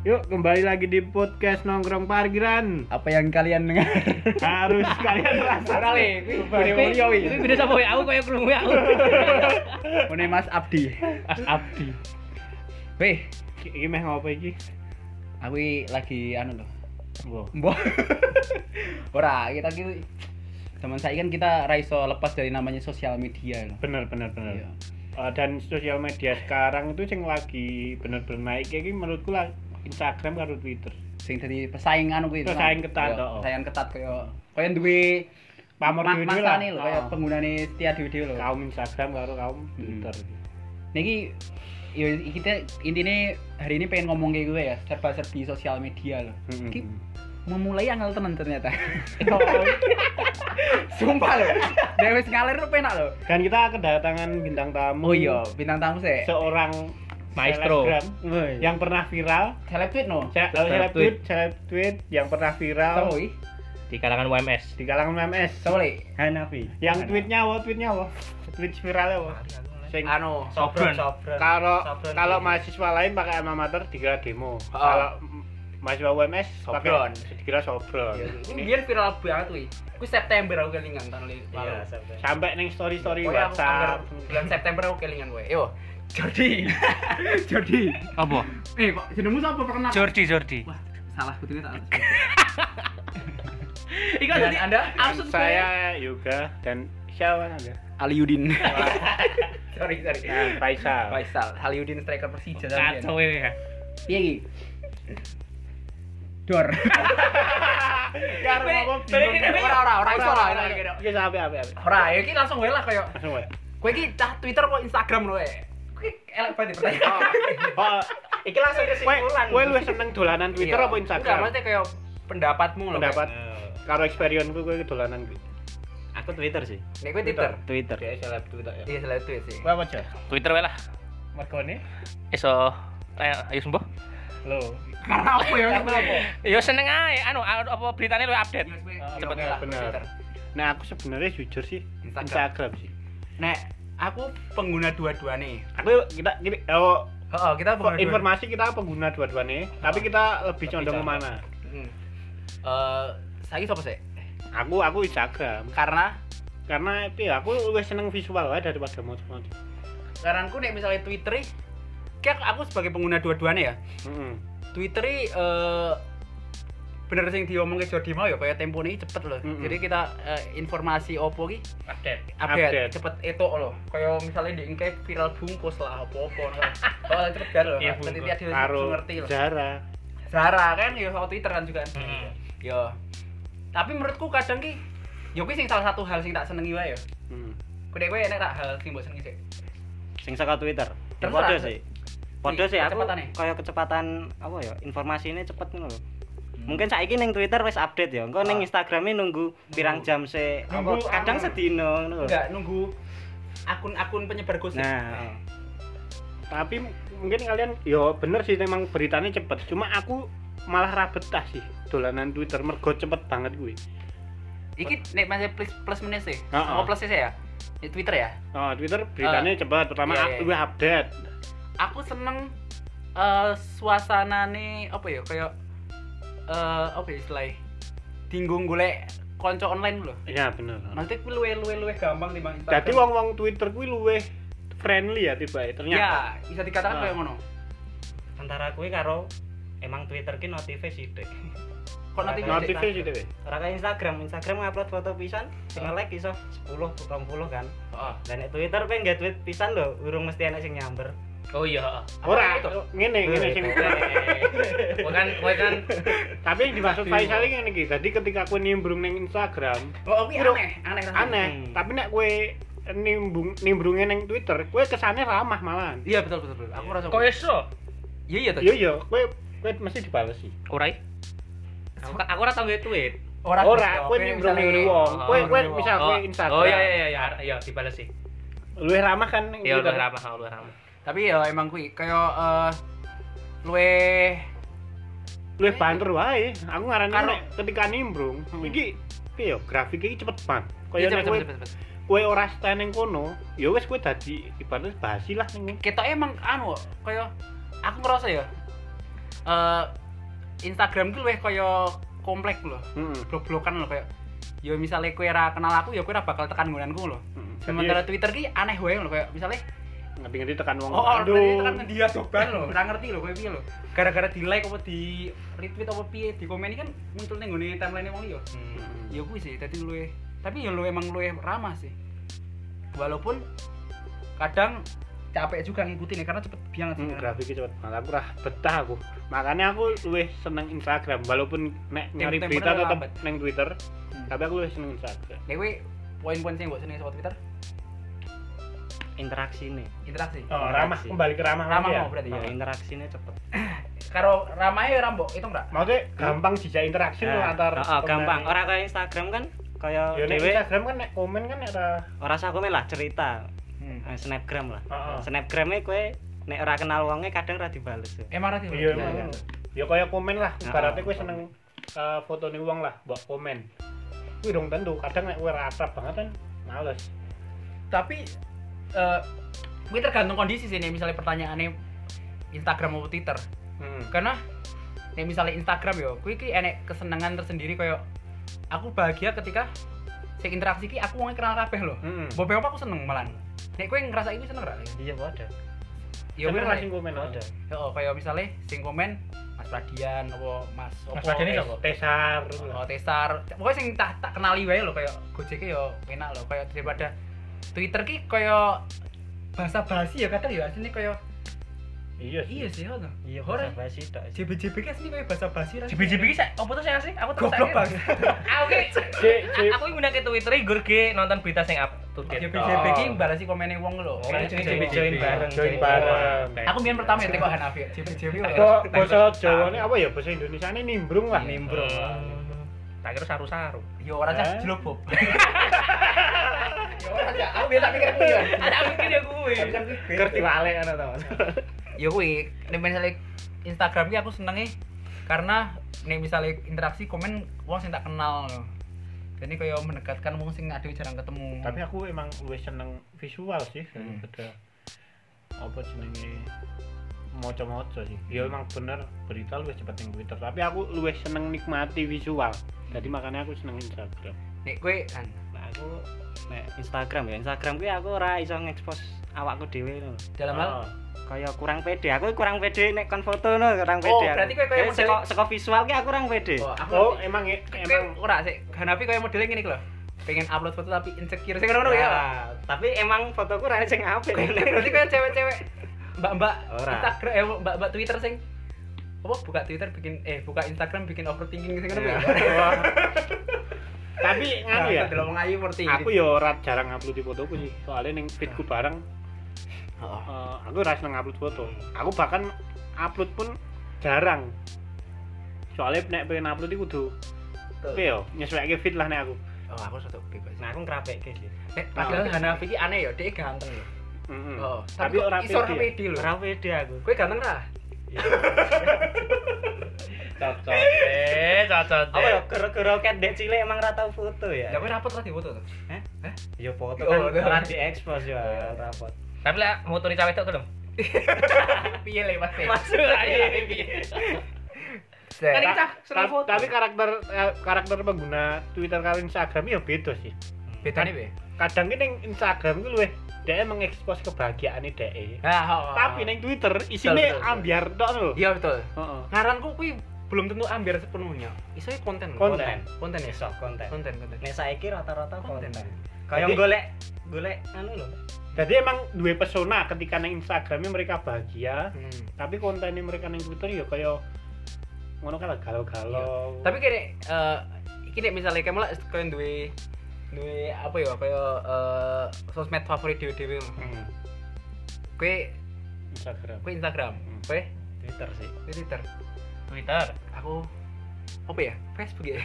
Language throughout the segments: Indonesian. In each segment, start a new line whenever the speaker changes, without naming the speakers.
Yuk kembali lagi di podcast nongkrong parkiran.
apa yang kalian dengar
Harus kalian rasakan.
Kali, kuwi
Bari wong liya, kuwi.
Kuwi beda sapa wae, aku koyo krungu wae aku.
Ini Mas Abdi
Mas Abdi.
weh
Iki meh ngopo iki?
aku i- lagi anu loh
Wow.
mbok ora kita ki zaman saya kan kita raiso lepas dari namanya sosial media loh
Bener bener bener.
Iya.
Eh, dan sosial media sekarang itu yang lagi bener-bener naik ya, iki menurutku lah Instagram karo Twitter.
sing dari persaingan kuwi
Persaing ketat,
Iya,
oh.
persaingan ketat kaya kaya duwe
Pamor
ma-
dhewe-dhewe
masane
lah.
lho kaya
Oh.
penggunane setia dhewe-dhewe lho
Kaum Instagram karo kaum Twitter.
niki ya kita intinya hari ini pengen ngomong kayak gue ya serba serbi sosial media loh
Mm-mm.
Ki- memulai angel tenan ternyata
Oh,
sumpah loh dewe ngalir lu penak loh
dan kita kedatangan bintang tamu.
oh iya bintang tamu sih
Seorang
Maestro.
selebgram
yang
yang pernah viral.
seleb tweet no
Se-
Seleb
seleb
tweet.
tweet, seleb tweet yang pernah
tau
viral
ih
Di kalangan UMS.
di kalangan memes.
tau li
Hanafi.
yang tweetnya apa tweetnya apa tweet viralnya apa sing
anu
Sobron.
kalau kalau mahasiswa lain pakai alma mater dikira demo kalau mm, mahasiswa UMS
Sobron.
pakai dikira sobron
ini biar viral banget wih aku September aku kelingan tahun li
Iya,
lalu.
sampai.
sampai neng story story
Pokoknya aku
WhatsApp
anggar bulan September aku kelingan gue yo Jordi Jordi
Apa?
eh kok jenengmu siapa pernah
Jordi, Jordi.
wah salah putihnya tak
Iku
Dan
tadi
Anda
Dan
absurd
saya Yoga dan siapa anda
Aliudin sorry sorry
Nah, Faisal
Faisal Aliudin striker Persija tadi
kacau ini ya.
piye iki Dor
Karo
Balik-
ngomong
balik
bingung.
ini, balik. Ora, ora, ora, iso, ora,
ora.
ora, ora.
Oke, Iya, sampai sampai sampai.
ora ya iki langsung wae lah koyo
Langsung wae.
kowe iki cah Twitter kok Instagram lho eh kowe elek banget ya
Oh,
pertanyaan
oh,
Iki langsung
kowe
kesimpulan.
kowe lu seneng dolanan Twitter
Iya.
apa
Enggak,
Instagram?
maksudnya kayak pendapatmu loh.
Pendapat karo experience-ku kowe dolanan kuwi.
Aku Twitter sih.
Nek gue Twitter.
Twitter.
Dia seleb Twitter ya.
Iya, selalu itu sih.
Kowe apa, Jar?
Twitter wae lah.
Mergone?
Iso ayo ayo sembuh.
Loh,
Karena apa ya? Karena apa?
Yo seneng ae anu a- apa beritane lu update.
Cepet
iya,
lah.
bener.
Twitter.
Nah aku sebenarnya jujur sih
Instagram.
Instagram, sih.
Nek aku pengguna dua-dua nih.
Aku kita gini, oh,
Oh, kita
kok
pengguna dua.
informasi kita pengguna dua-duanya, tapi kita lebih condong
Lebih
kemana?
Hmm. Eh, saya siapa sih?
Aku aku Instagram
Karena
karena itu ya, aku lebih seneng visual lah daripada mouse mouse.
karena aku nek misalnya Twitter kayak aku sebagai pengguna dua-duanya ya.
Mm-mm.
Twitter eh bener sing diomongke Jordi mau ya kayak tempo ini cepet loh.
Mm-mm.
Jadi kita eh, informasi opo ki
Update.
update,
Update.
cepet itu loh kayak misalnya di engke viral bungkus lah apa apa kalau cepet gar loh
Iya,
nanti
bungkus.
dia dia
Karo
ngerti loh
Zara.
Zara kan ya soal Twitter kan juga
Hmm.
yo tapi menurutku kadang ki yo ki sing salah satu hal sing tak senengi wae yo
Hmm.
kudu kowe enek tak hal sing mbok senengi sih
Sing saka Twitter. Ya,
Terserah.
Podo sih. Podo
Iya,
sih aku
kecepatane.
kaya kecepatan apa ya informasi ini cepet ngono lho. Mungkin saiki ning Twitter wis update ya. Engko ning
Ah.
Instagram nunggu pirang jam se apa
Nunggu, ah.
kadang sedino ngono lho.
enggak nunggu akun-akun penyebar gosip
Nah,
Tapi mungkin kalian, yo bener sih memang beritanya cepet. Cuma aku malah rabet tah sih dolanan Twitter mergo cepet banget gue.
iki nek masih plus plus minus sih
Heeh.
apa plus sih ya di Twitter ya
Oh, Twitter beritanya cepet. Pertama
iya,
aku
iya.
update.
aku seneng eh suasana nih apa ya kayak eh apa ya istilahnya tinggung golek konco online lho
Ya bener.
nanti kuwi luwe luwe luwe gampang timbang Instagram
Jadi wong-wong Twitter kuwi luweh friendly ya tiba ternyata.
ya bisa dikatakan
Ah.
kayak ngono
antara kuwi karo emang Twitter ki notif sithik.
kok nanti kan?
Notif sih dhewe.
Ora kaya Instagram, Instagram ngupload foto pisan, sing
Ah.
like iso 10 20 kan.
oh,
Dan nek Twitter pengen nggak tweet pisan lho, urung mesti enek sing nyamber.
Oh iya.
Ora,
Apa gitu?
ngene ngene sing.
Kowe kan kowe kan
Tapi yang dimaksud
Iya.
Faisal ini ngene iki. Dadi ketika kowe nimbrung ning Instagram,
oh kuwi
Bro,
aneh aneh rasanya.
aneh.
Hmm.
Tapi nek kowe nimbung nimbrunge ning Twitter, kowe kesane ramah malahan.
iya betul betul betul aku rasa
kok iso?
iya iya tuh
Yo yo, kowe kowe mesti dibales sih.
Ora. Aku kan, aku ora tau nge tweet.
Ora, kowe nimbrunge
Oh,
wong. Kowe kowe misal kowe Instagram.
Oh iya iya iya iya dibales sih.
Luwih ramah kan ning
Iya lu
Twitter.
ramah, lu ramah.
tapi ya emang kuwi kayak eh luwe
Luwih banter wae. Aku ngarani
Karo- Hmm.
nek ketika nimbrung, iki piye yo grafike iki cepet banget.
Iya,
Kayak nek
cepet,
kowe
cepet, cepet, cepet.
kue ora stand ning kono ya wis kue dadi ibaratnya basi lah ning
kita emang anu kayak aku ngerasa ya eh Instagram ku luwih kaya komplek lho.
Heeh.
Blok-blokan lho kaya ya misalnya kowe ora kenal aku ya kowe ora bakal tekan nggonanku lho.
Heeh.
Sementara
Jadi,
Twitter ki aneh wae lho kaya misalnya
ngerti-ngerti tekan wong.
Oh, oh tekan dia soban lho, ora ngerti lho kowe piye lho. Gara-gara di-like apa di retweet apa piye, di komen kan muncul ning nggone timeline wong liya.
Hmm.
Iya.
ya gue sih tadi lu tapi ya lu emang lu ramah sih walaupun kadang capek juga ngikutin ya karena cepet banget sih
Hmm,
kan.
grafiknya cepet banget. Aku rah betah aku. Makanya aku luwih seneng Instagram walaupun nek nyari
Tempo-tempo
berita
udah
tetep
lambat.
neng Twitter,
Hmm.
tapi aku luwih seneng Instagram.
Nek gue poin-poin sih buat seneng sama Twitter
interaksi nih
interaksi
Oh, ramah kembali ke ramah
ramah
lagi ya.
mau berarti ya
ya, interaksinya cepet
karo ramahnya ya rambo itu enggak
Maksudnya gampang dijak interaksi loh
Nah,
antar.
oh, oh, gampang
pemain.
orang kayak Instagram kan kayak
Ya, nek
dewe
Instagram kan nek komen kan ada
orang sah komen lah cerita Eh, snapgram lah
Heeh.
snapgramnya kue nek ora kenal wongnya kadang ora dibales ya.
emang rati
Iya,
Iya,
emang. Ya
iya.
kaya komen lah,
Nah,
ibaratnya
oh,
kowe
komen.
seneng eh, foto nih uang lah, buat komen. Wih dong tentu, kadang nek kowe ra akrab banget kan males.
tapi eh gue tergantung kondisi sih nih misalnya pertanyaannya Instagram atau Twitter
Hmm.
karena nek misalnya Instagram yo kuwi ki enek kesenangan tersendiri koyo aku bahagia ketika sing interaksi ki aku wong kenal kabeh lho
Heeh.
beberapa aku seneng malan nek kowe ngerasa iku seneng ra
iya ada
yo
Seneng lah sing
misalnya
komen ada.
yo koyo misalnya sing komen Mas Pradian apa Mas
Mas
opo,
Pradian ini
eh,
siapa?
Tesar.
Oh, Tesar. Pokoknya sing tak tak kenali wae lho kayak Gojek ya enak lho kayak daripada Twitter ki kayak bahasa basi ya kadang ya aslinya kayak
Iya sih.
iya sih ngono.
iya
Ora.
bahasa basi tok sih.
JBJB ki aslinya kayak bahasa basi ra.
JBJB ki sak opo tuh sing asli? Aku terus
goblok banget.
Ah oke.
Cek, cek.
Aku ngundang ke Twitter gur ge nonton berita sing up to date.
JBJB JB ki balasi komennya wong lho.
Oh,
Kayak
join-
JBJB.
join- join bareng.
Join bareng.
Aku mien pertama ya teko Hanafi. JBJB
Kok bahasa Jawa apa ya bahasa Indonesia ini Iya, nimbrung lah.
Nimbro. Tak kira saru-saru.
yo ora
Eh?
cah jelok bob. Yo ora cah. Aku biasa mikir kuwi.
Ada aku mikir ya kuwi.
Ngerti wale ana to.
Yo kuwi nek misalnya Instagram ki aku senenge karena nek misalnya interaksi komen wong sing tak kenal lho. Jadi kaya mendekatkan wong sing aduh jarang ketemu.
Tapi aku emang luwih seneng visual sih daripada apa jenenge moco-moco sih. Ya emang bener berita luwih cepet ning Twitter, tapi aku luwih seneng nikmati visual. Jadi makanya aku seneng Instagram.
nek kowe kan
nah aku nek Instagram ya Instagram gue aku ora iso ngekspos awakku dhewe no.
dalam hal
Oh.
kayak kurang pede aku kurang pede nek kon foto no kurang pede
Oh,
aku.
berarti kowe kayak
Jadi,
model-
seko seko visual ki aku kurang pede
Oh, aku
Oh, emang ya,
emang
emang
ora sih. Hanafi kaya modelnya ngene iki lho. Pengen upload foto tapi insecure sing ngono
Ya,
ya.
tapi emang fotoku ra sing apik
berarti kan cewek-cewek mbak-mbak
Ora.
Instagram eh mbak-mbak Twitter sing apa buka Twitter bikin eh buka Instagram bikin overthinking sing ngono ya.
tapi nganu ya.
Delok wong ayu overthinking.
Aku ya ora jarang upload di fotoku sih. Soalnya ning feedku bareng
Oh,
eh, aku ora seneng upload foto. Aku bahkan upload pun jarang. Soalnya nek pengen upload iku kudu oke yo nyesuaike feed lah nek aku.
Oh, aku satu bebas.
nah aku ngrapekke sih
Nek padahal Hanafi iki aneh ya, dia ganteng ya.
Mm-mm.
Oh,
Hmm. Tapi
kok
ora
iso ora
pede.
pede lho.
ora pede aku
Kowe ganteng ra?
Cocot. Eh, cocot.
apa ya gara-gara ket dek cilik emang ra tau foto ya
Ya kowe rapot ra diwoto to.
Hah?
Hah?
ya foto
Oh,
kan
udah.
ora diekspos ya
Iya.
ora foto
Tapi lah mau turi cawe itu belum?
Piye le Mas?
Masuk
Iya,
aja. Kan
Kan
kita seneng
Ta-
foto.
Tapi karakter eh, karakter pengguna Twitter karo Instagram ya beda sih.
bedane piye?
Kadang ki ning Instagram ku luwih dhek mengekspos kebahagiaane dhek.
Nah, oh, oh.
Tapi ning Twitter isine
betul, betul.
ambiar tok lho.
iya betul.
Heeh.
Ngaranku kuwi belum tentu ambil sepenuhnya. Iso konten. lho.
Konten.
Konten ya.
iso konten
Konten konten.
nek saiki rata-rata
Konten.
konten kayak
Jadi-
golek golek anu lho
Jadi emang dua pesona ketika nang Instagramnya mereka bahagia,
Hmm.
tapi kontennya mereka nang Twitter ya kayak ngono kan lah, galau-galau.
Tapi kayak eh iki nek misalnya kamu lah kau duwe duwe apa ya kaya eh sosmed favorit dewe dewe.
Hmm,
Kue
Instagram.
kue Instagram, kue
Twitter sih
Twitter.
Twitter.
Aku apa ya Facebook ya?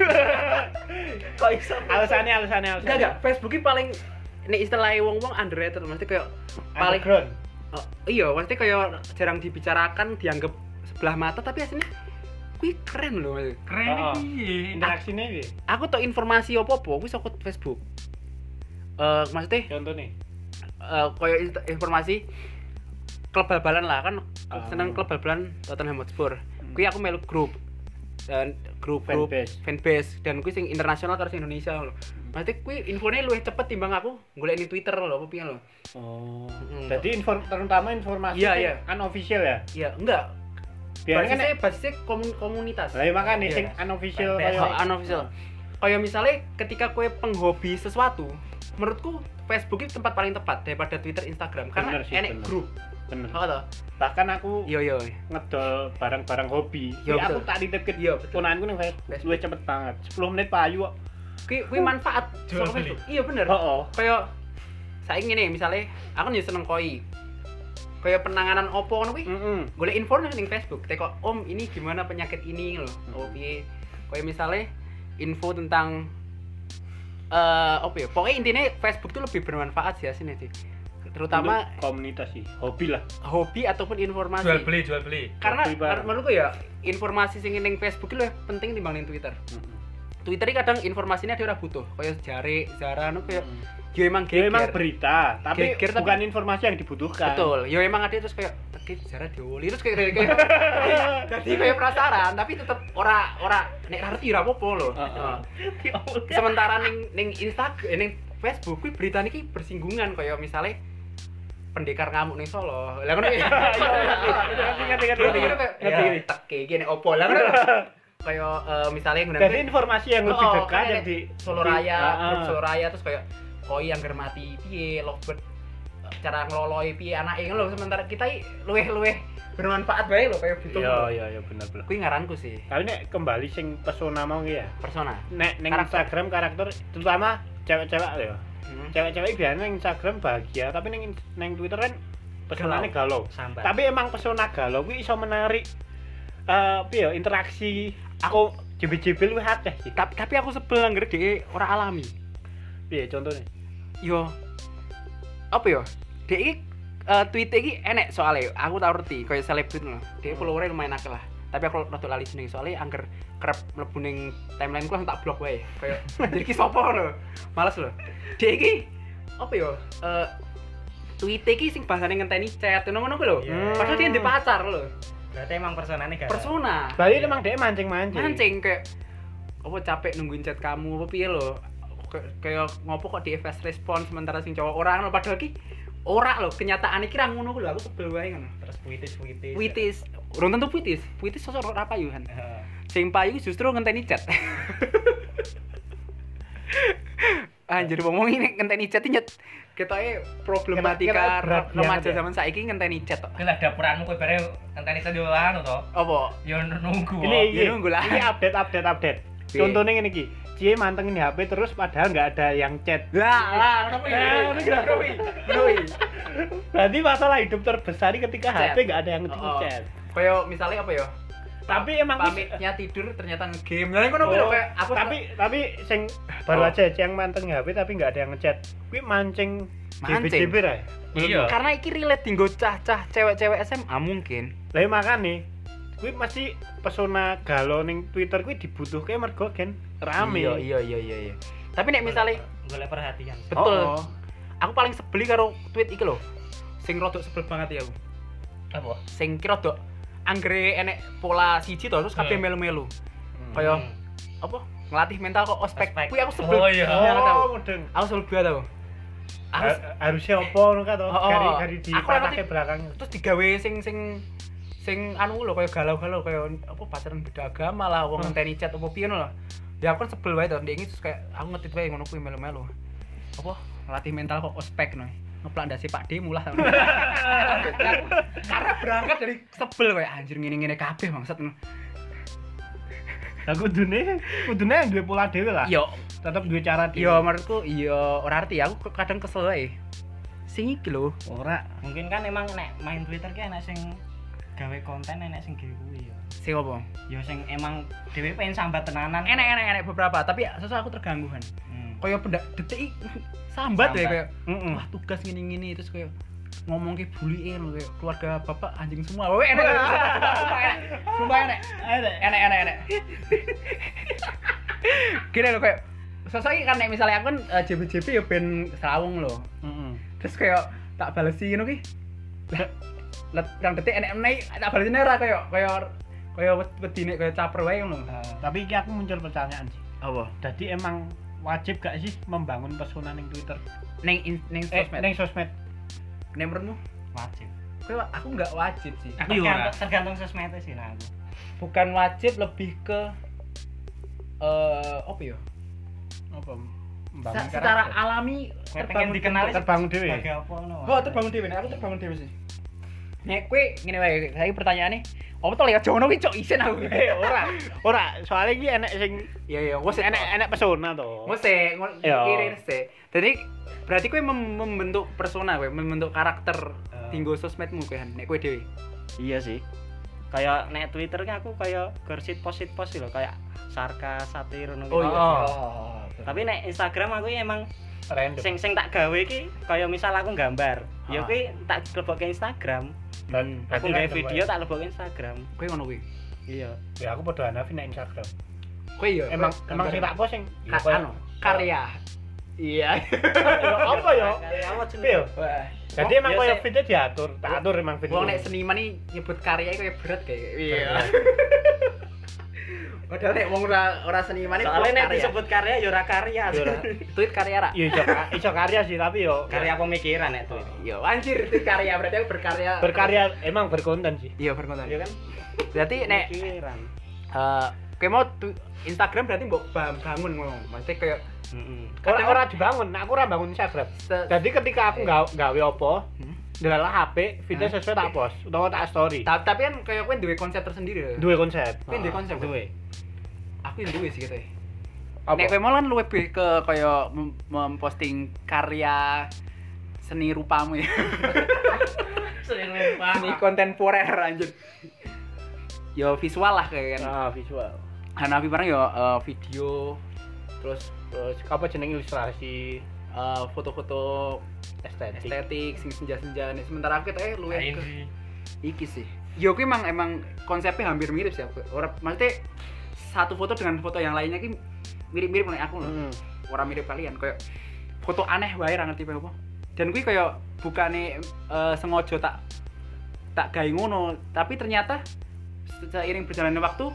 kok iso
Alasannya alasannya alasannya.
Enggak enggak Facebook ini paling nek istilahnya wong wong underrated mesti kayak paling
Underground.
oh, iya mesti kayak jarang dibicarakan dianggap sebelah mata tapi aslinya kue keren loh maksudnya.
Keren
Oh.
iki.
Interaksinya piye?
aku tau informasi apa apa aku saka Facebook Eh maksudnya
Contohnya.
eh koyo in- informasi klub bal-balan lah kan aku
Ah. Hmm.
seneng klub bal-balan Tottenham Hotspur. kui aku melu grup dan grup-grup
Fanbase. Hmm.
fanbase dan kui sing internasional karo sing Indonesia lho. Maksudnya kui infone luwih cepet timbang aku golek ning Twitter lho apa piye lho.
Oh.
Mm.
Jadi inform terutama informasi
Iya,
yang
iya.
unofficial ya.
Ya, enggak.
Biasanya kan
basisnya, basisnya komun- komunitas.
lah ya makanya
Iya.
sing unofficial
Fanbase.
Oh,
kayak
unofficial. Kayak misalnya ketika kue penghobi sesuatu, menurutku Facebook itu tempat paling tepat daripada Twitter, Instagram karena
Bener sih, bener.
enek grup.
bener.
Oh, toh.
Bahkan aku
Yo yo.
ngedol barang-barang hobi.
Iya,
Ya aku
betul.
tak titip ke
Iya, betul.
ponakanku ning Facebook. Luwih cepet banget. 10 menit payu kok.
Kui kui manfaat
Jual
saka
beli.
Facebook. Iya bener.
Heeh.
Kayak saya ngene misalnya aku nih seneng koi. Kayak penanganan opo ngono kuwi.
Heeh.
Golek info nang ning Facebook. Teko Om ini gimana penyakit ini lho. Oh piye. Kayak misalnya info tentang eh apa ya? Pokoknya intinya Facebook tuh lebih bermanfaat sih aslinya sih. Terutama
Untuk komunitas sih, hobi lah.
hobi ataupun informasi.
Jual beli, jual beli.
Karena
Hobi bareng.
menurutku ya informasi sing ning Facebook itu lebih penting timbang ning Twitter. Twitter ini kadang informasinya dia ora butuh. Kayak jari, zara nu kayak yo emang
Ya
geger.
emang berita, tapi
Geger, tapi-
bukan informasi yang dibutuhkan.
Betul. Yo emang ada terus kayak teki zara dioli terus kayak kayak kayak- jadi kayak penasaran tapi tetep ora ora nek ra ngerti ora apa-apa lho.
Heeh.
Heeh. Sementara ning ning Instagram eh, ning Facebook kuwi berita niki bersinggungan kayak misalnya pendekar ngamuk ning Solo. Lah ngono ya.
Ngerti, ngerti,
Ngerti
ngerti.
kira kayak ngerti teki gini opo lah kan kayak eh, misalnya
Jadi
ngundang
informasi yang lebih
Oh,
dekat
kayak
yang di
Solo
di-
Raya,
Ah,
grup
ah.
Solo Raya terus kayak koi yang germati piye lovebird cara ngeloloi piye anake ngono lho sementara kita i luweh-luweh bermanfaat bae lho kayak butuh.
Iya, iya, iya benar benar.
Kuwi ngaranku sih
Tapi nek kembali sing pesona mau ki ya.
persona.
Nek ning
Karakter.
Instagram karakter terutama cewek-cewek ya.
Hmm.
Cewek-cewek biasanya ning Instagram bahagia, tapi ning ning Twitter kan pesonane galau.
sambat
Tapi emang pesona galau kuwi iso menarik eh apa ya, interaksi aku jebil-jebil luwih akeh sih.
Tapi, tapi aku sebel nang dhek ora alami.
Piye contohnya?
Yo apa yo? Dhek iki eh, tweet iki enek soalnya aku tau ngerti kayak selebgram lho. Dhek
Hmm.
followernya lumayan akeh lah. Tapi aku rada lali jeneng soalnya angger kerep mlebu ning timeline ku langsung tak blok wae. Kayak jadi ki sapa lho. Males lho. Dhek iki apa yo? Eh tweet iki sing bahasane ngenteni chat ngono-ngono ku lho.
Iya.
Padahal dia ndek pacar lho.
Berarti emang personanya gak.
Persona.
Bali emang dia mancing-mancing.
Iya. mancing kayak apa capek nungguin chat kamu apa piye lo kayak ngopo kok di fast respon sementara sing cowok orang lo padahal ki ora lo kenyataannya kira ngono ku lho aku sebel wae ngono
Terus puitis, puitis.
puitis urung tentu puitis puitis sosok ora payuhan
Heeh.
sing payu justru ngenteni chat anjir ngomong ini ngenteni chat nyet ketoke problematika
Kira-kira berat
remaja
banget ya.
zaman saiki ngenteni chat tok
Kuwi lah dapuranmu kowe bare ngenteni itu yo anu to.
apa
Yo nunggu.
Ini
oh.
ya
ini
nunggu lah.
Ini update update update.
Piye?
Contohnya ini ki, cie mantengin HP terus padahal nggak ada yang chat.
Eh,
lah lah kenapa
Nah, ini
ini
kenapa?
Doi.
Berarti masalah hidup terbesar ini ketika
Chat.
HP nggak ada yang
Oh, oh.
chat.
kayak misalnya apa ya
Tapi emang
pamitnya tidur ternyata nge-game lah kan
Oh,
kayak aku
tapi tapi sing baru
Oh.
aja sih yang mantengin HP tapi nggak ada yang ngechat. Kuwi mancing
Mancing.
jibir-jibir ae.
Iya.
karena iki relate dinggo cah-cah cewek-cewek SMA mungkin
Lah ya makane kuwi masih pesona galau ning Twitter kuwi dibutuhke mergo gen rame.
iya iya iya iya iya. tapi nek misalnya
golek perhatian.
betul
Oh, oh.
aku paling sebeli karo tweet iki loh sing rodok sebel banget ya aku
Apa?
sing ki rodok anggere enek pola siji to terus kabeh
Hmm.
melu-melu
Hmm.
kayak apa ngelatih mental kok ospek
Ospek.
kuwi aku sebel
Oh, iya. Eh,
Iya, aku tahu.
Oh, mudeng.
aku sebel banget aku aku
Har- harusnya opo ngono ka to?
Oh, oh.
Gari-gari di
Aku yang ngerti.
belakangnya.
terus digawe sing sing sing anu lho kaya galau-galau kaya apa pacaran beda agama lah wong
Hmm.
ngenteni chat apa piye lho. Ya aku kan sebel wae to ndek iki terus kayak aku ngetit wae ngono kuwi melu-melu. Apa ngelatih mental kok ospek no. Ngeplak ndase Pak D mulah tau. Karena berangkat dari sebel kayak anjir ngene-ngene kabeh bangsat ngono.
Lah kudune kudune yang duwe pola dhewe lah. Ah.
Yo,
Tetep duwe cara dhewe.
yo Iya. menurutku yo ora arti aku kadang kesel wae. Sing iki lho.
ora.
Mungkin kan emang nek main Twitter ki enak sing gawe konten enak sing gawe kuwi ya.
Sing opo?
Ya sing emang dhewe pengen sambat tenanan.
Enak-enak enak beberapa, tapi sosok aku terganggu kan.
Hmm.
Kaya pendak detik iki sambat ya
Sambat.
kayak
Heeh.
wah tugas gini gini terus kayak ngomong ke bully eh kayak keluarga bapak anjing semua wae enak Sumpah enak sumpah enak
eh.
enak enak enak gini loh kayak sosoknya kan nek misalnya aku kan eh, JBJB ya ben serawung loh
Heeh.
terus kayak tak balesi ngono ki lah lah, pirang detik enek meneh tak balesine ora kayak kayak Kayak wed- wedi nek kayak caper wae ngono.
Tapi iki aku muncul pertanyaan sih.
apa
Jadi emang wajib gak sih membangun pesona ning Twitter?
Ning in- ning
Eh,
sosmed.
ning sosmed.
Ning menurutmu?
wajib
Iya,
Kowe aku nggak wajib sih.
aku
Tergantung-
tergantung, tergantung sosmednya sih nah aku
bukan wajib lebih ke eh apa ya?
Apa?
Sa-
Membangun
secara
karakter.
alami
Kayak pengen dikenali
terbangun dhewe.
sebagai apa no
Oh, terbangun dhewe. Nek Aku terbangun dhewe sih. Nek kowe ngene wae, saya pertanyaane, apa to lewat jono ki cok isin aku.
Eh, ora. Ora, soalnya iki enek sing
Ya ya, wis
enek enek pesona to.
Mesti
Iya.
ngirin sih. Jadi berarti kowe mem- membentuk persona kowe, membentuk karakter
Eh.
tinggo sosmedmu kowe nek kowe dhewe.
iya sih kayak nek Twitter kan aku kayak gersit post post loh kayak sarkas satir ngono
Oh,
gitu.
iya.
tapi nek Instagram aku emang
Random.
sing sing tak gawe ki kayak misal aku gambar
Ah.
ya kuwi tak lebokke Instagram
Dan aku
aku gawe
kayak
video
video.
tak lebokke Instagram
Kowe ngono kuwi.
iya
Ya aku padha hanafi nek Instagram.
Kowe ya.
Emang
kowe-
emang sing tak post sing
Ka- anu, karya. Iya.
Ya, apa ya?
apa
Tapi ya,
Wah.
Jadi
Wong
emang
biasa-
kayak fitnya diatur, tak atur emang fitnya.
Iya, Wong nek seniman iki nyebut karya iki kayak berat kayak. Iya. Padahal nek wong ora ora seniman iki
soalnya nek
karya.
disebut karya yo ora karya
Yo ora.
tweet karya ra.
Iya, iso, iso karya sih tapi yo
karya pemikiran nek tuh
Iya, anjir tweet karya berarti aku berkarya.
berkarya emang berkonten sih.
Iya, berkonten.
iya kan
Berarti nek
pemikiran
eh kowe mau tu- Instagram berarti mbok ba- bangun ngono. Maksudnya kayak
heeh
Ora
Kadang-
ora dibangun, nah, aku ora bangun Instagram.
se-
Jadi ketika aku
Eh.
gawe, gawe apa,
Hmm.
delalah HP, video
Hah?
sesuai tak post, utawa tak story.
ta- tapi kan kayak kowe duwe konsep tersendiri.
Dua konsep.
Kowe duwe konsep.
duwe
Aku yang duwe sih gitu ya.
Apa?
Nek kowe mau kan lebih ke kayak mem- memposting karya seni rupamu ya.
sering
seni kontemporer anjir. Yo visual lah kayak kan.
Ah, visual.
Hanafi barang yo eh, video terus
Terus apa jeneng ilustrasi
eh, foto-foto
estetik.
estetik sing senja-senja nih. Sementara aku kita lu
lain
ke
sih
iki sih. Yo aku emang emang konsepnya hampir mirip sih aku. Ora maksudnya satu foto dengan foto yang lainnya ki mirip-mirip nih aku loh.
Hmm.
Ora mirip kalian kayak foto aneh wae ra ngerti apa. Dan kuwi kayak bukane eh, sengaja tak tak gawe ngono, tapi ternyata seiring berjalannya waktu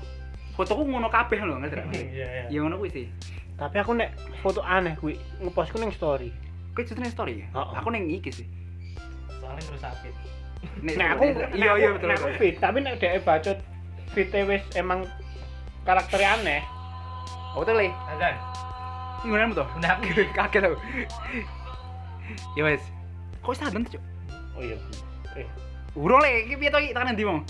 fotoku ngono kabeh loh ngerti ra?
iya iya
Ya ngono kuwi sih.
Tapi aku nek foto aneh kuwi ngepostku ning story.
Kuwi justru ning story ya.
Heeh.
Aku ning iki sih.
soalnya terus sakit
Nek
Nek aku
iya iya betul.
Nek aku fit, tapi nek dhek bacot fit wis emang karakter aneh.
Aku tuh le.
azan
Ngono tuh.
udah aku
Kaget aku. Ya wes. Kok sadon tuh, Cuk?
Oh iya. Eh,
Uro le, iki piye to iki tekan endi mong?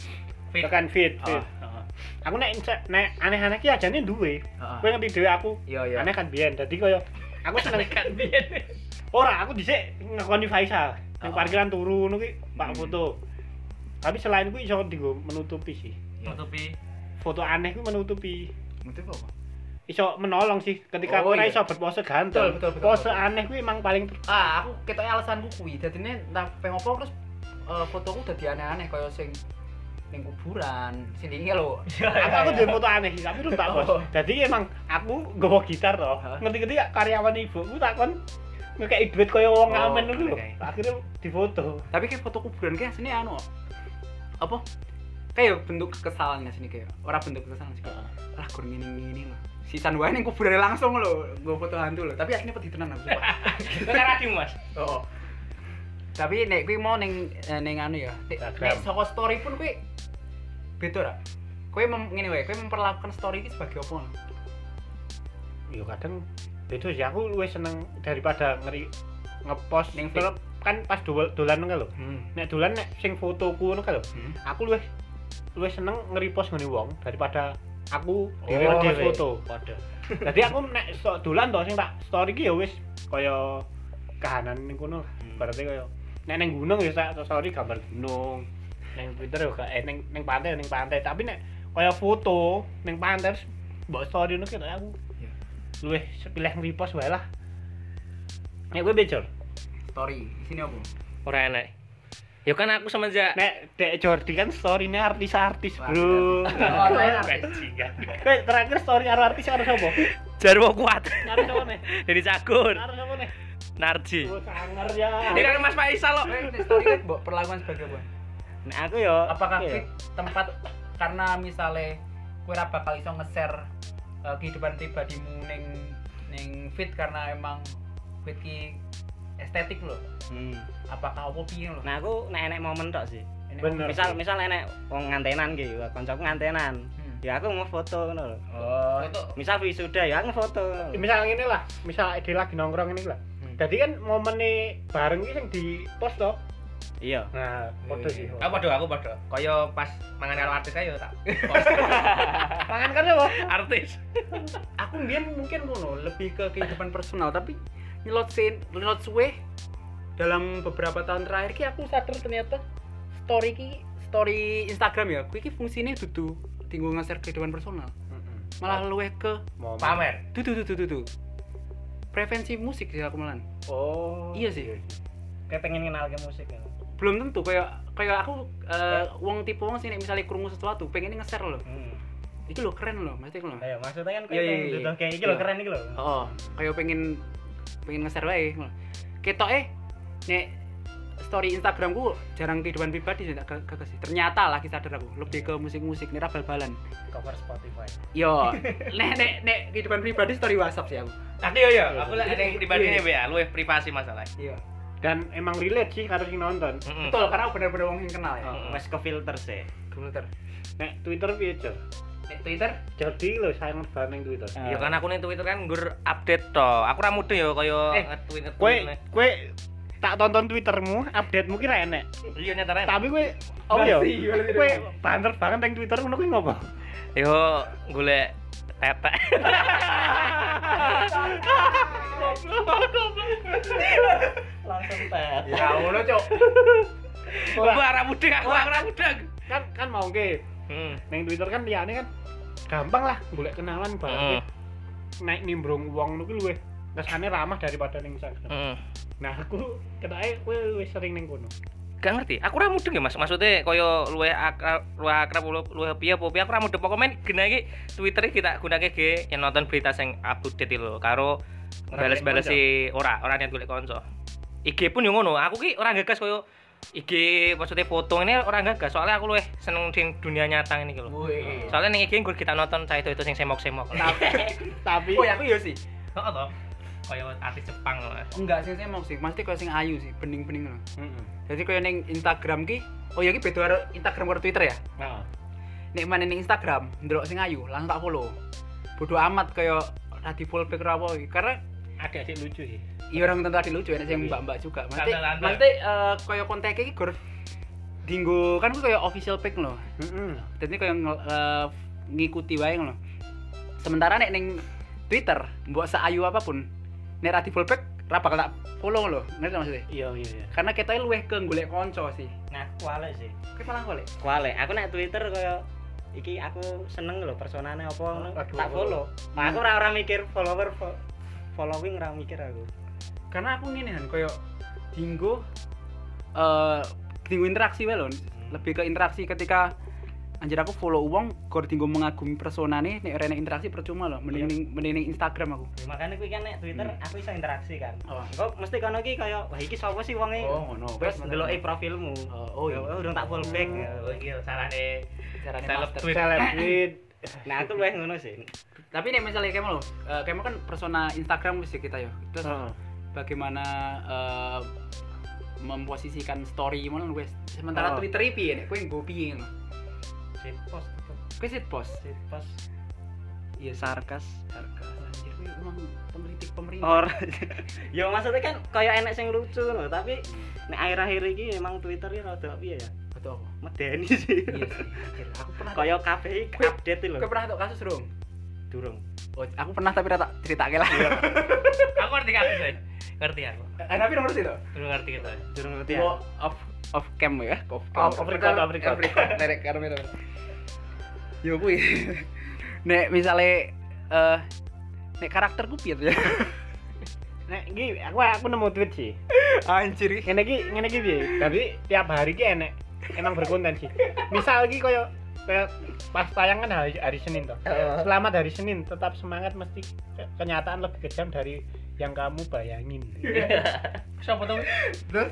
Fit.
tekan fit, fit.
Ah, ah,
Aku nek nek aneh-aneh ki ajane duwe.
ah.
Kowe ngerti dhewe aku
Iya iya.
aneh kan biyen dadi koyo aku seneng kan ora aku dhisik ngakoni Faisal nang
Oh.
parkiran turu ngono ki pak
Hmm.
foto tapi selain kuwi iso digo menutupi sih
nutupi
foto aneh kuwi menutupi
Mutu apa?
iso menolong sih ketika
Oh,
ora
iya.
iso berpose ganteng
Betul, betul, betul,
pose
betul.
aneh kuwi emang paling ter-
Ah, aku ketoknya alasanku kuwi. Dadine entah pengopo terus eh, fotoku dadi aneh-aneh kaya sing ning kuburan. Sing iki lho.
aku aku duwe foto aneh sih tapi lu tak bos
Oh.
jadi emang aku nggawa gitar toh
Hah?
ngerti-ngerti ya, karyawan ibu ku takon ngekei duit koyo wong
Oh,
ngamen ngono lho
oke.
akhirnya difoto
Tapi kayak foto kuburan kayak sini anu apa? Kayak bentuk kekesalannya sini kayak. Ora bentuk kekesalan sih. kayak, Lah kur ngene-ngene lho. Sisan wae ning kuburan langsung lho, nggo foto hantu lho. Tapi asline pedih tenan aku. sumpah.
itu kan radio mas
Oh. Tapi nek kuwi mau ning eh, ning anu ya. Nek-
Instagram.
Nek saka story pun kuwi beda ra? Kowe mem ngene wae, kowe memperlakukan story iki sebagai apa?
yo kadang beda sih aku luwih seneng daripada ngeri ngepost
Ning
ning film kan pas dol- dolan ngono lho
Hmm.
nek dolan nek sing fotoku ngono kan lho
Hmm.
aku luwih luwih seneng nge-repost ngene wong daripada aku
Oh,
dhewe nge-post
dhewe.
foto
padha
jadi aku nek sok dolan to sing tak story ki ya wis kaya kahanan ning kono lah.
Hmm.
berarti kaya nek ning gunung ya tak story gambar gunung ning Twitter ya gak eh ning ning pantai ya ning pantai tapi nek kaya foto ning pantai terus mbok story ngono kira aku
Iya.
luwih pilih nge-repost wae lah nek gue bejor
Story isine apa?
ora enak ya kan aku semenjak
Nek Dek Jordi kan story-ne artis-artis,
Wah,
Bro.
Oh, saya artis.
Kowe terakhir story karo artis karo sapa?
jarwo kuat
Karo sapa nih?
dari cakur
Karo sapa nih?
narji
Oh, sangar ya.
ini kan mas Faisal lo
Kowe nek story kuwi mbok perlakuan sebagai apa?
nah aku yo
Apakah
iya.
kuwi tempat karena misalnya kowe ora bakal iso nge-share eh, kehidupan pribadimu ning ning feed karena emang feed ki estetik loh
Hmm.
apakah opo piye loh
Nah aku nek enek momen tok sih.
Ini-
Bener.
Misal misal enek wong ngantenan ki, wah, kancaku ngantenan.
Hmm.
Ya aku mau foto ngono lho.
oh itu
Misal wisuda ya aku foto. ngono lho.
misal ini lah misal dia lagi nongkrong ini lah
Hmm.
jadi kan momennya bareng ini yang di post toh
Iya.
nah foto sih
iya.
aku padha aku padha kaya pas mangan karo artis ayo tak
tangan kan apa
artis aku mbien mungkin ngono lebih ke kehidupan personal tapi nyelot sin nyelot suwe dalam beberapa tahun terakhir ki aku sadar ternyata story ki story Instagram ya kuwi ki fungsinya dudu tinggal nge-share kehidupan personal malah luweh ke
Momen.
dudu dudu dudu prevensi musik sih aku malan
oh
Iya sih.
Kayak pengen kenal ke musik ya.
belum tentu kayak kayak aku eh, wong tipe wong sih nek misalnya krungu sesuatu pengen nge-share loh
Hmm.
itu lo keren loh mesti loh
Ayo maksudnya kan
Iya,
kayak
iya, iya.
dudoh kayak iki lho
Iya.
keren iki lho.
Oh, kayak pengen pengen nge-share wae. Ketok eh nek story Instagramku jarang kehidupan pribadi sih gak gak sih. Ternyata lagi sadar aku lebih ke musik-musik nih ra bal-balan.
Cover Spotify.
Yo, nek nek nek kehidupan pribadi story WhatsApp sih aku.
Tapi yo yo, aku lah ada yang pribadinya ya, lu privasi masalah.
Iya.
dan emang relate sih harus yang nonton
Mm-mm.
Betul, karena aku bener-bener wong sing kenal ya.
Mm-mm.
Wes ke filter sih.
Twitter.
nek twitter piye Jor?
Nek Twitter
jadi lo sayang banget yang twitter
Iya kan aku ning Twitter kan nggur update to. Aku ra mudeng yo kaya
Eh,
nge-tweet
kue
nge-tweet.
kue tak tonton twittermu update mungkin enak
Iya nyatane.
tapi kue oh ya kue banter banget yang twitter ngono kue ngopo
Yo golek tetek.
Langsung tet.
ya ngono, Cok.
Aku ra mudeng, aku ra mudeng.
kan kan mau ke
Hmm.
neng twitter kan liane kan gampang lah boleh kenalan banget
Hmm.
naik nimbrung uang nuku luwe kesannya ramah daripada neng Instagram
Hmm.
nah aku ketae kue luwe sering neng kono
Gak ngerti, aku ra mudeng ya Mas. Maksudnya kaya luwih akrab, luwih akrab luwih piye apa piye aku ra mudeng pokoknya men genah iki Twitter iki tak gunake ge yang nonton berita sing update lho karo bales-bales si ora, ora niat golek kanca. IG pun yo ngono, aku ki ora gagas kaya IG maksudnya foto ini ora gagas soalnya aku luwih seneng sing dunia nyata ini ki lho.
Woi.
Soalnya ning IG gue kita nonton cah itu itu sing semok-semok.
Tapi
tapi
oh ya aku yo sih.
Heeh to. Kaya artis Jepang lho.
Enggak sih, saya mau sih. Mesti kaya sing ayu sih, bening-bening loh.
Mm-mm.
Jadi kaya ning Instagram ki, oh ya ki beda karo Instagram karo Twitter ya.
nah
nek mana ning Instagram ndelok sing ayu langsung tak follow bodo amat kaya tadi full back ra apa iki. karena
ada adik lucu sih
ya orang tentu tadi lucu enak sing
Iya.
mbak-mbak juga mesti
Tanda-tanda.
mesti eh, kaya kontak iki gur dinggo kan kuwi kaya official pic loh
Mm-mm.
jadi kaya ngel- eh, ngikuti wae ngono sementara nek ning Twitter mbok seayu apapun nek ra di full back ra bakal tak follow loh ngerti maksudnya
iya iya iya
karena kita luweh ke golek kanca sih
Nah, aku kualek sih.
kowe malah golek
Kualek. Aku nek Twitter kaya iki aku seneng lho personane apa ngono.
Aduh,
Tak
aku-
follow. Nah, aku ora ora mikir follower fo- following ora mikir aku.
karena aku ngene kan koyo dinggo eh dinggo interaksi wae lho lebih ke interaksi ketika anjir aku follow uang gor dinggo mengagumi personane nek rene interaksi percuma lho mending ning- mending ning Instagram aku
Ya, makanya kuwi kan nek Twitter aku iso interaksi kan. Oh.
oh
Engko mesti kono iki kaya wah iki sapa sih wonge?
ngono
Terus ndeloki profilmu.
Oh, oh iya.
Ya, urung tak follow back.
Oh
iya,
iki carane
carane
seleb
master.
tweet.
selebrit
Nah, aku luwih ngono sih.
tapi nek misalnya kamu lho eh, kamu kan persona Instagram wis ya kita ya terus
Heeh.
bagaimana eh, memposisikan story ngono wis sementara
Oh.
Twitter iki piye nek kowe nggo piye ngono
Sit post,
kowe sit post
sit post.
iya
Sarkas.
anjir kowe emang pemritik pemerintah
Or. ya maksudnya kan kaya enek sing lucu lho, tapi nek akhir-akhir iki emang Twitter iki rada piye ya?
atau apa?
Medeni sih.
Iya sih. anjir. Aku pernah.
Kaya kabeh iki update lho.
Kau pernah tuh kasus dong?
Durung.
Oh, aku pernah tapi tak cerita lah.
Aku ngerti kan sih. Ngerti aku.
Eh, tapi nomor itu.
Belum ngerti kita.
Durung ngerti ya.
Gua Iya. off off cam ya, off
Off- off record, off record.
Nerek karo itu. Yo kuwi. Nek misale eh nek karakterku piye tuh ya?
nek iki aku aku nemu tweet sih
Anjir.
ngene iki ngene iki piye tapi tiap hari iki enek emang berkonten sih misal iki koyo koyo pas tayang kan hari, hari Senin toh selamat hari Senin tetap semangat mesti ke- kenyataan lebih kejam dari yang kamu bayangin
Siapa tuh?
Terus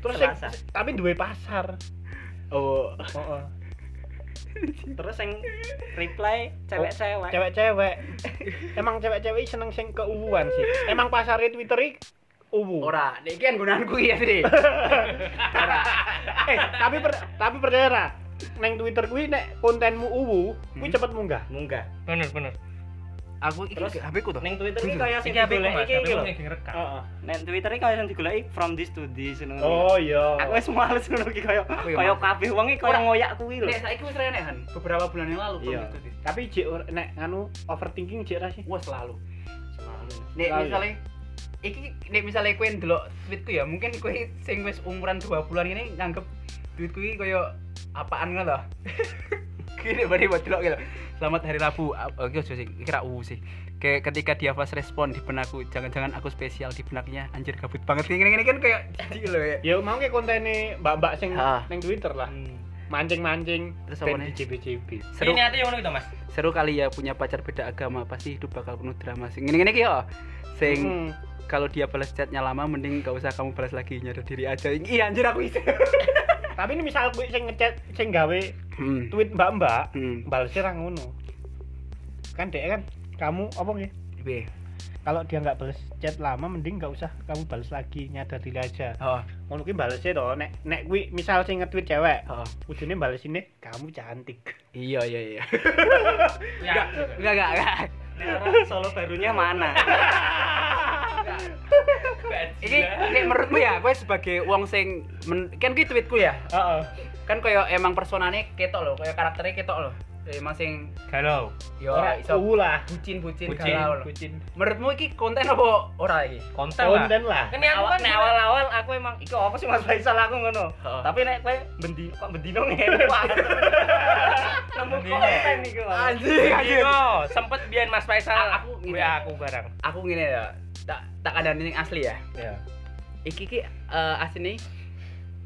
terus sing-
Selasa.
tapi duwe pasar
oh
oh, oh.
terus yang reply cewek-cewek
cewek-cewek emang cewek-cewek seneng sing keuwuan sih emang pasarnya twitter iki uwu
Ora, nek iki kan gunaanku ya, Tri.
eh tapi per, tapi percaya ra neng twitter kuwi nek kontenmu uwu kuwi
Hmm.
cepet munggah
munggah
bener bener
Aku iki
Terus,
HP ku to.
neng twitter ini
Jujur.
kayak sing
iki aku
digolek
mas
iki
tapi
iki lho
aku yang rekam
Heeh.
neng twitter ini kayak sing digolek from this to this ngono.
oh iya
aku wis males ngono iki kayak
Aku ya
kayak
males.
kabeh wong iki
Ora.
kayak ngoyak kuwi lho
Nek saiki wis rene kan beberapa bulan yang lalu
Iya.
Bang, itu, Tri.
tapi jek or- nek nganu overthinking jek ra sih
Wah, selalu.
Selalu.
Nek
Selalu.
misalnya iki nek misalnya kowe ndelok tweetku ya, mungkin kowe sing wis umuran 2 bulan ini nganggep tweetku iki koyo apaan ngono lho. Kene bari buat delok gitu. Selamat hari Rabu. Ap- Oke, ojo sih, kira u sih. Ke ketika dia pas respon di benakku, jangan-jangan aku spesial di benaknya. Anjir gabut banget ngene-ngene kan kayak jijik lho ya.
ya mau ke kontennya mbak-mbak sing
Ah.
neng twitter lah mancing-mancing
Terus apa
dan
nih?
dicicipi
ini
Seru.
niatnya yang ngono gitu mas
seru kali ya punya pacar beda agama pasti hidup bakal penuh drama sing ngene-ngene iki ya
Hmm.
sing kalau dia balas chatnya lama mending gak usah kamu balas lagi nyadar diri aja iya anjir aku itu
tapi ini misal gue sing ngechat sing gawe
hmm.
tweet mbak-mbak
hmm.
balesnya ra ngono kan dek kan kamu apa nggih
Piye?
kalau dia nggak bales chat lama mending nggak usah kamu bales lagi nyadar diri aja
oh
ngono kuwi balesnya to nek nek kuwi misal sing nge-tweet cewek
oh
ujungnya balesin deh kamu cantik
iya iya iya
ya
enggak enggak enggak
Nek ora solo barunya mana
ini ini menurutmu ya gue sebagai wong sing men- kan gue tweetku ya
heeh
kan koyo emang personanya ketok loh koyo karakternya ketok loh emang sing
galau
yo
ora
iso
uwu lah
bucin bucin
Bucin,
galau loh
kucin
menurutmu iki konten apa ora iki
konten lah
konten lah
kan ini aku
awal
kan
nek awal-awal aku emang iki apa sih Mas Faisal aku ngono
Heeh.
tapi nek kowe bendi kok bendino ngene Pak. nemu
Bendino.
konten iki Mas.
anjing
Iya, sempet biar Mas Faisal
A- aku ngene.
WA aku barang.
aku ngene ya tak tak ada yang asli ya
Iya.
iki ki eh, asli nih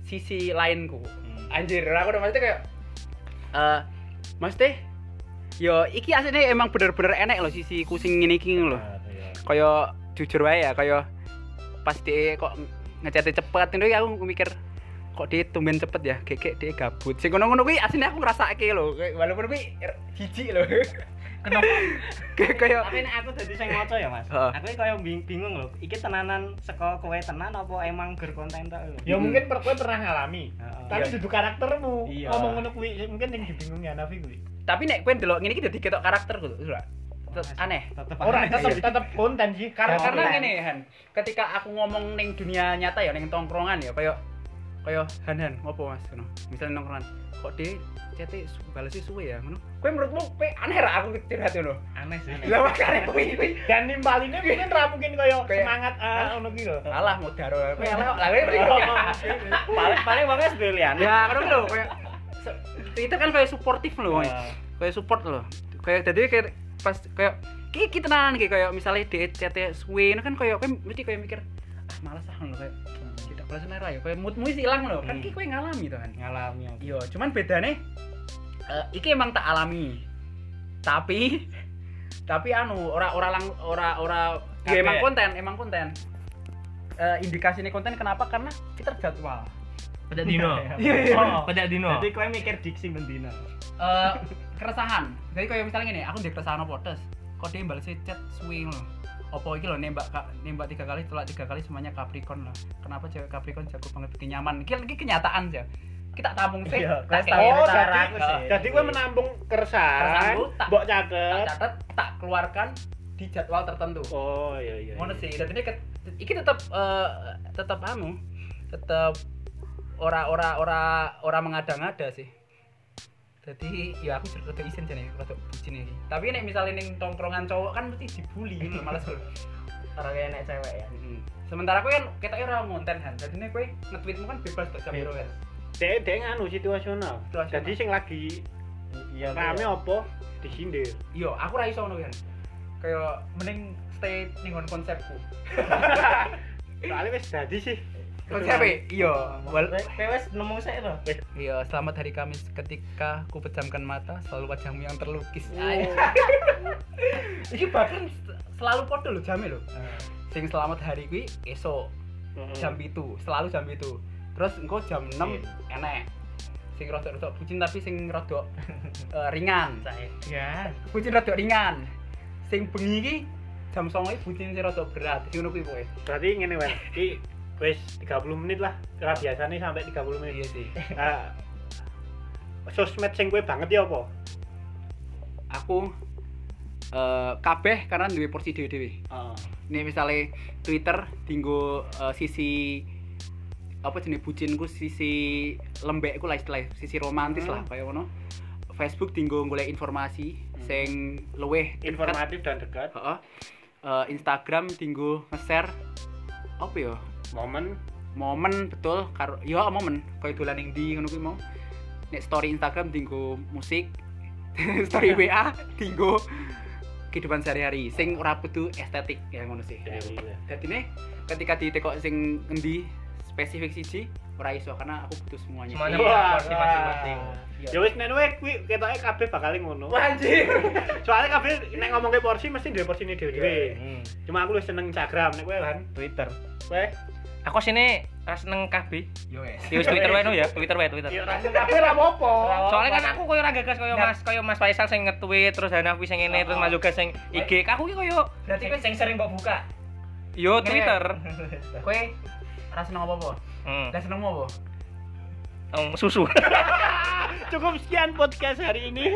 sisi lainku anjir aku udah maksudnya kayak eh mas teh yo iki aslinya emang bener-bener enek loh sisi kucing ini iki loh
Nah, ya.
kaya jujur wae ya kaya pas dia kok ngecatnya cepet itu aku mikir kok dia tumben cepet ya keke dia gabut sing ngono-ngono kuwi aslinya aku ngerasa kayak loh walaupun kuwi er- jijik loh
Kenapa?
kayak kayak
tapi nek aku dadi sing ngoco ya Mas
Heeh.
aku iki koyo bing- bingung lho iki tenanan saka kowe tenan apa emang ger konten tok lho
ya mungkin per kowe pernah ngalami
Heeh.
tapi duduk karaktermu
Iya.
ngomong ngono kuwi mungkin yang dibingung ya Nafi kuwi
tapi nek kuen delok ngene iki dadi ketok karakter gitu lho. Terus aneh
tetep
ora
aneh.
tetep tetep konten sih
karena
karena
karena
konten.
ngene Han ketika aku ngomong ning dunia nyata ya ning tongkrongan ya kayak kayak Han Han ngopo Mas ngono misalnya nongkrongan kok dia cete su- balesnya suwe ya ngono kowe menurutmu kowe aneh ra aku curhat ngono
aneh sih
lha makane kuwi kuwi
dan nimpalinnya mungkin ra mungkin koyo
Kayak-
semangat ah ngono kuwi lho
alah mau daro kowe elek lah kowe mriko
paling paling wong wis duwe
ya ngono lho koyo se- Twitter kan kayak suportif
Oh,
lho
iya,
Mas. kayak support loh kayak jadi kayak pas kayak kayak kita tenanan kayak kayak misalnya di chatnya suwe ini kan kayak kayak mesti kayak mikir ah malas ah loh kayak tidak balas nera ya kayak moodmu sih hilang loh kan
Hmm.
kayak kayak ngalami tuh kan
ngalami aku.
iya cuman bedanya eh iki emang tak alami tapi tapi anu ora ora lang ora ora ya
Kabeh.
emang konten emang konten Eh indikasi ini konten kenapa karena kita terjadwal
Pada Dino.
iya iya
Oh.
Pada Dino.
Jadi kowe mikir diksi mendina.
Eh, keresahan jadi kayak misalnya gini aku di keresahan apa terus kok dia balas chat swing loh opo iki loh nembak ka- nembak tiga kali tolak tiga kali semuanya Capricorn loh kenapa cewek Capricorn jago banget bikin nyaman ini, ini kenyataan sih kita tampung sih
Iya,
tak
keresahan.
kei-
Oh,
cara
jadi,
aku sih.
jadi gue menampung keresahan,
Keresahanku tak-
mbok
eh, tak
catet.
catat tak keluarkan di jadwal tertentu
Oh, iya iya.
ngono sih dan ini ket- iki tetap eh, tetap anu tetap ora ora ora ora mengada-ngada sih jadi ya aku rada isin jane rada bucin iki tapi nek misalnya ning tongkrongan cowok kan mesti dibully gitu loh, males lho
Orang kayak nek cewek ya.
sementara kowe kan ketoknya ora ngonten kan jadi nek kowe nge-tweetmu kan bebas bak jamiro kan
Dek dek anu situasional.
Situasional.
Jadi sing lagi
Iya.
rame apa disindir.
iya aku ra iso ngono kan kayak mending stay ning nggon konsepku
Soalnya wis dadi sih.
konsep e? iya wal-
Kowe wis nemu sik to.
Iya, selamat hari Kamis ketika ku pejamkan mata selalu wajahmu yang terlukis. Iki bahkan selalu podo lho jame lho. Sing selamat hari kuwi Hmm. Iya. esok jam itu, selalu jam itu. Terus engko jam 6 enek. sing rodok-rodok bucin tapi sing rodok eh, ringan
Saya ya.
bucin rodok ringan sing bengi iki jam 09.00 iki bucin sing rodok berat sing ngono kuwi pokoke
berarti ngene wae iki wis 30 menit lah Lah biasanya sampai 30 menit
iya sih
Ah, sosmed sing kowe banget ya apa
aku eh, kabeh karena duwe porsi dhewe-dhewe nih misalnya Twitter tinggu eh, sisi apa jenis bucinku sisi lembekku lah istilahnya sisi romantis lah kayak ngono Facebook tinggu golek informasi sing luweh dekat.
informatif dan dekat
Heeh. Eh, Instagram tinggu nge-share apa ya
momen
momen betul karo yo momen koyo dolan ning ndi ngono kuwi mau nek story Instagram tinggu musik story WA tinggu kehidupan sehari-hari sing ora kudu estetik ya ngono sih
Iya,
jadi nih ketika di teko sing endi spesifik siji ora iso karena aku butuh semuanya
Semuanya.
Iya.
Wah,
porsi
wah.
masing-masing.
Ya wis nek wae kuwi ketoke kabeh bakal ngono.
Wah, anjir
Soalnya kabeh nek ngomongke porsi mesti duwe porsine dhewe-dhewe.
Hmm,
Cuma aku lebih seneng Instagram nek kowe kan.
Twitter.
Kowe
Aku sini ras neng KB.
yo wes
Yo Twitter wae no ya, Twitter wae Twitter.
ya rasa kabeh lah apa-apa.
Soalnya kan aku koyo ora gagas koyo Mas, koyo Mas Faisal sing nge-tweet terus Hanafi sing ngene terus Mas Yoga sing IG. Aku ki koyo
berarti
Sing,
kowe
sing sering kok buka.
yo Twitter.
kowe ora seneng apa-apa
Hmm.
lah seneng apa
Em, susu.
Cukup sekian podcast hari ini.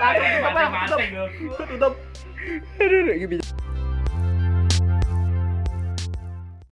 Langsung tutup, ah, tutup.
Tutup.
aduh aduh, iki bisa.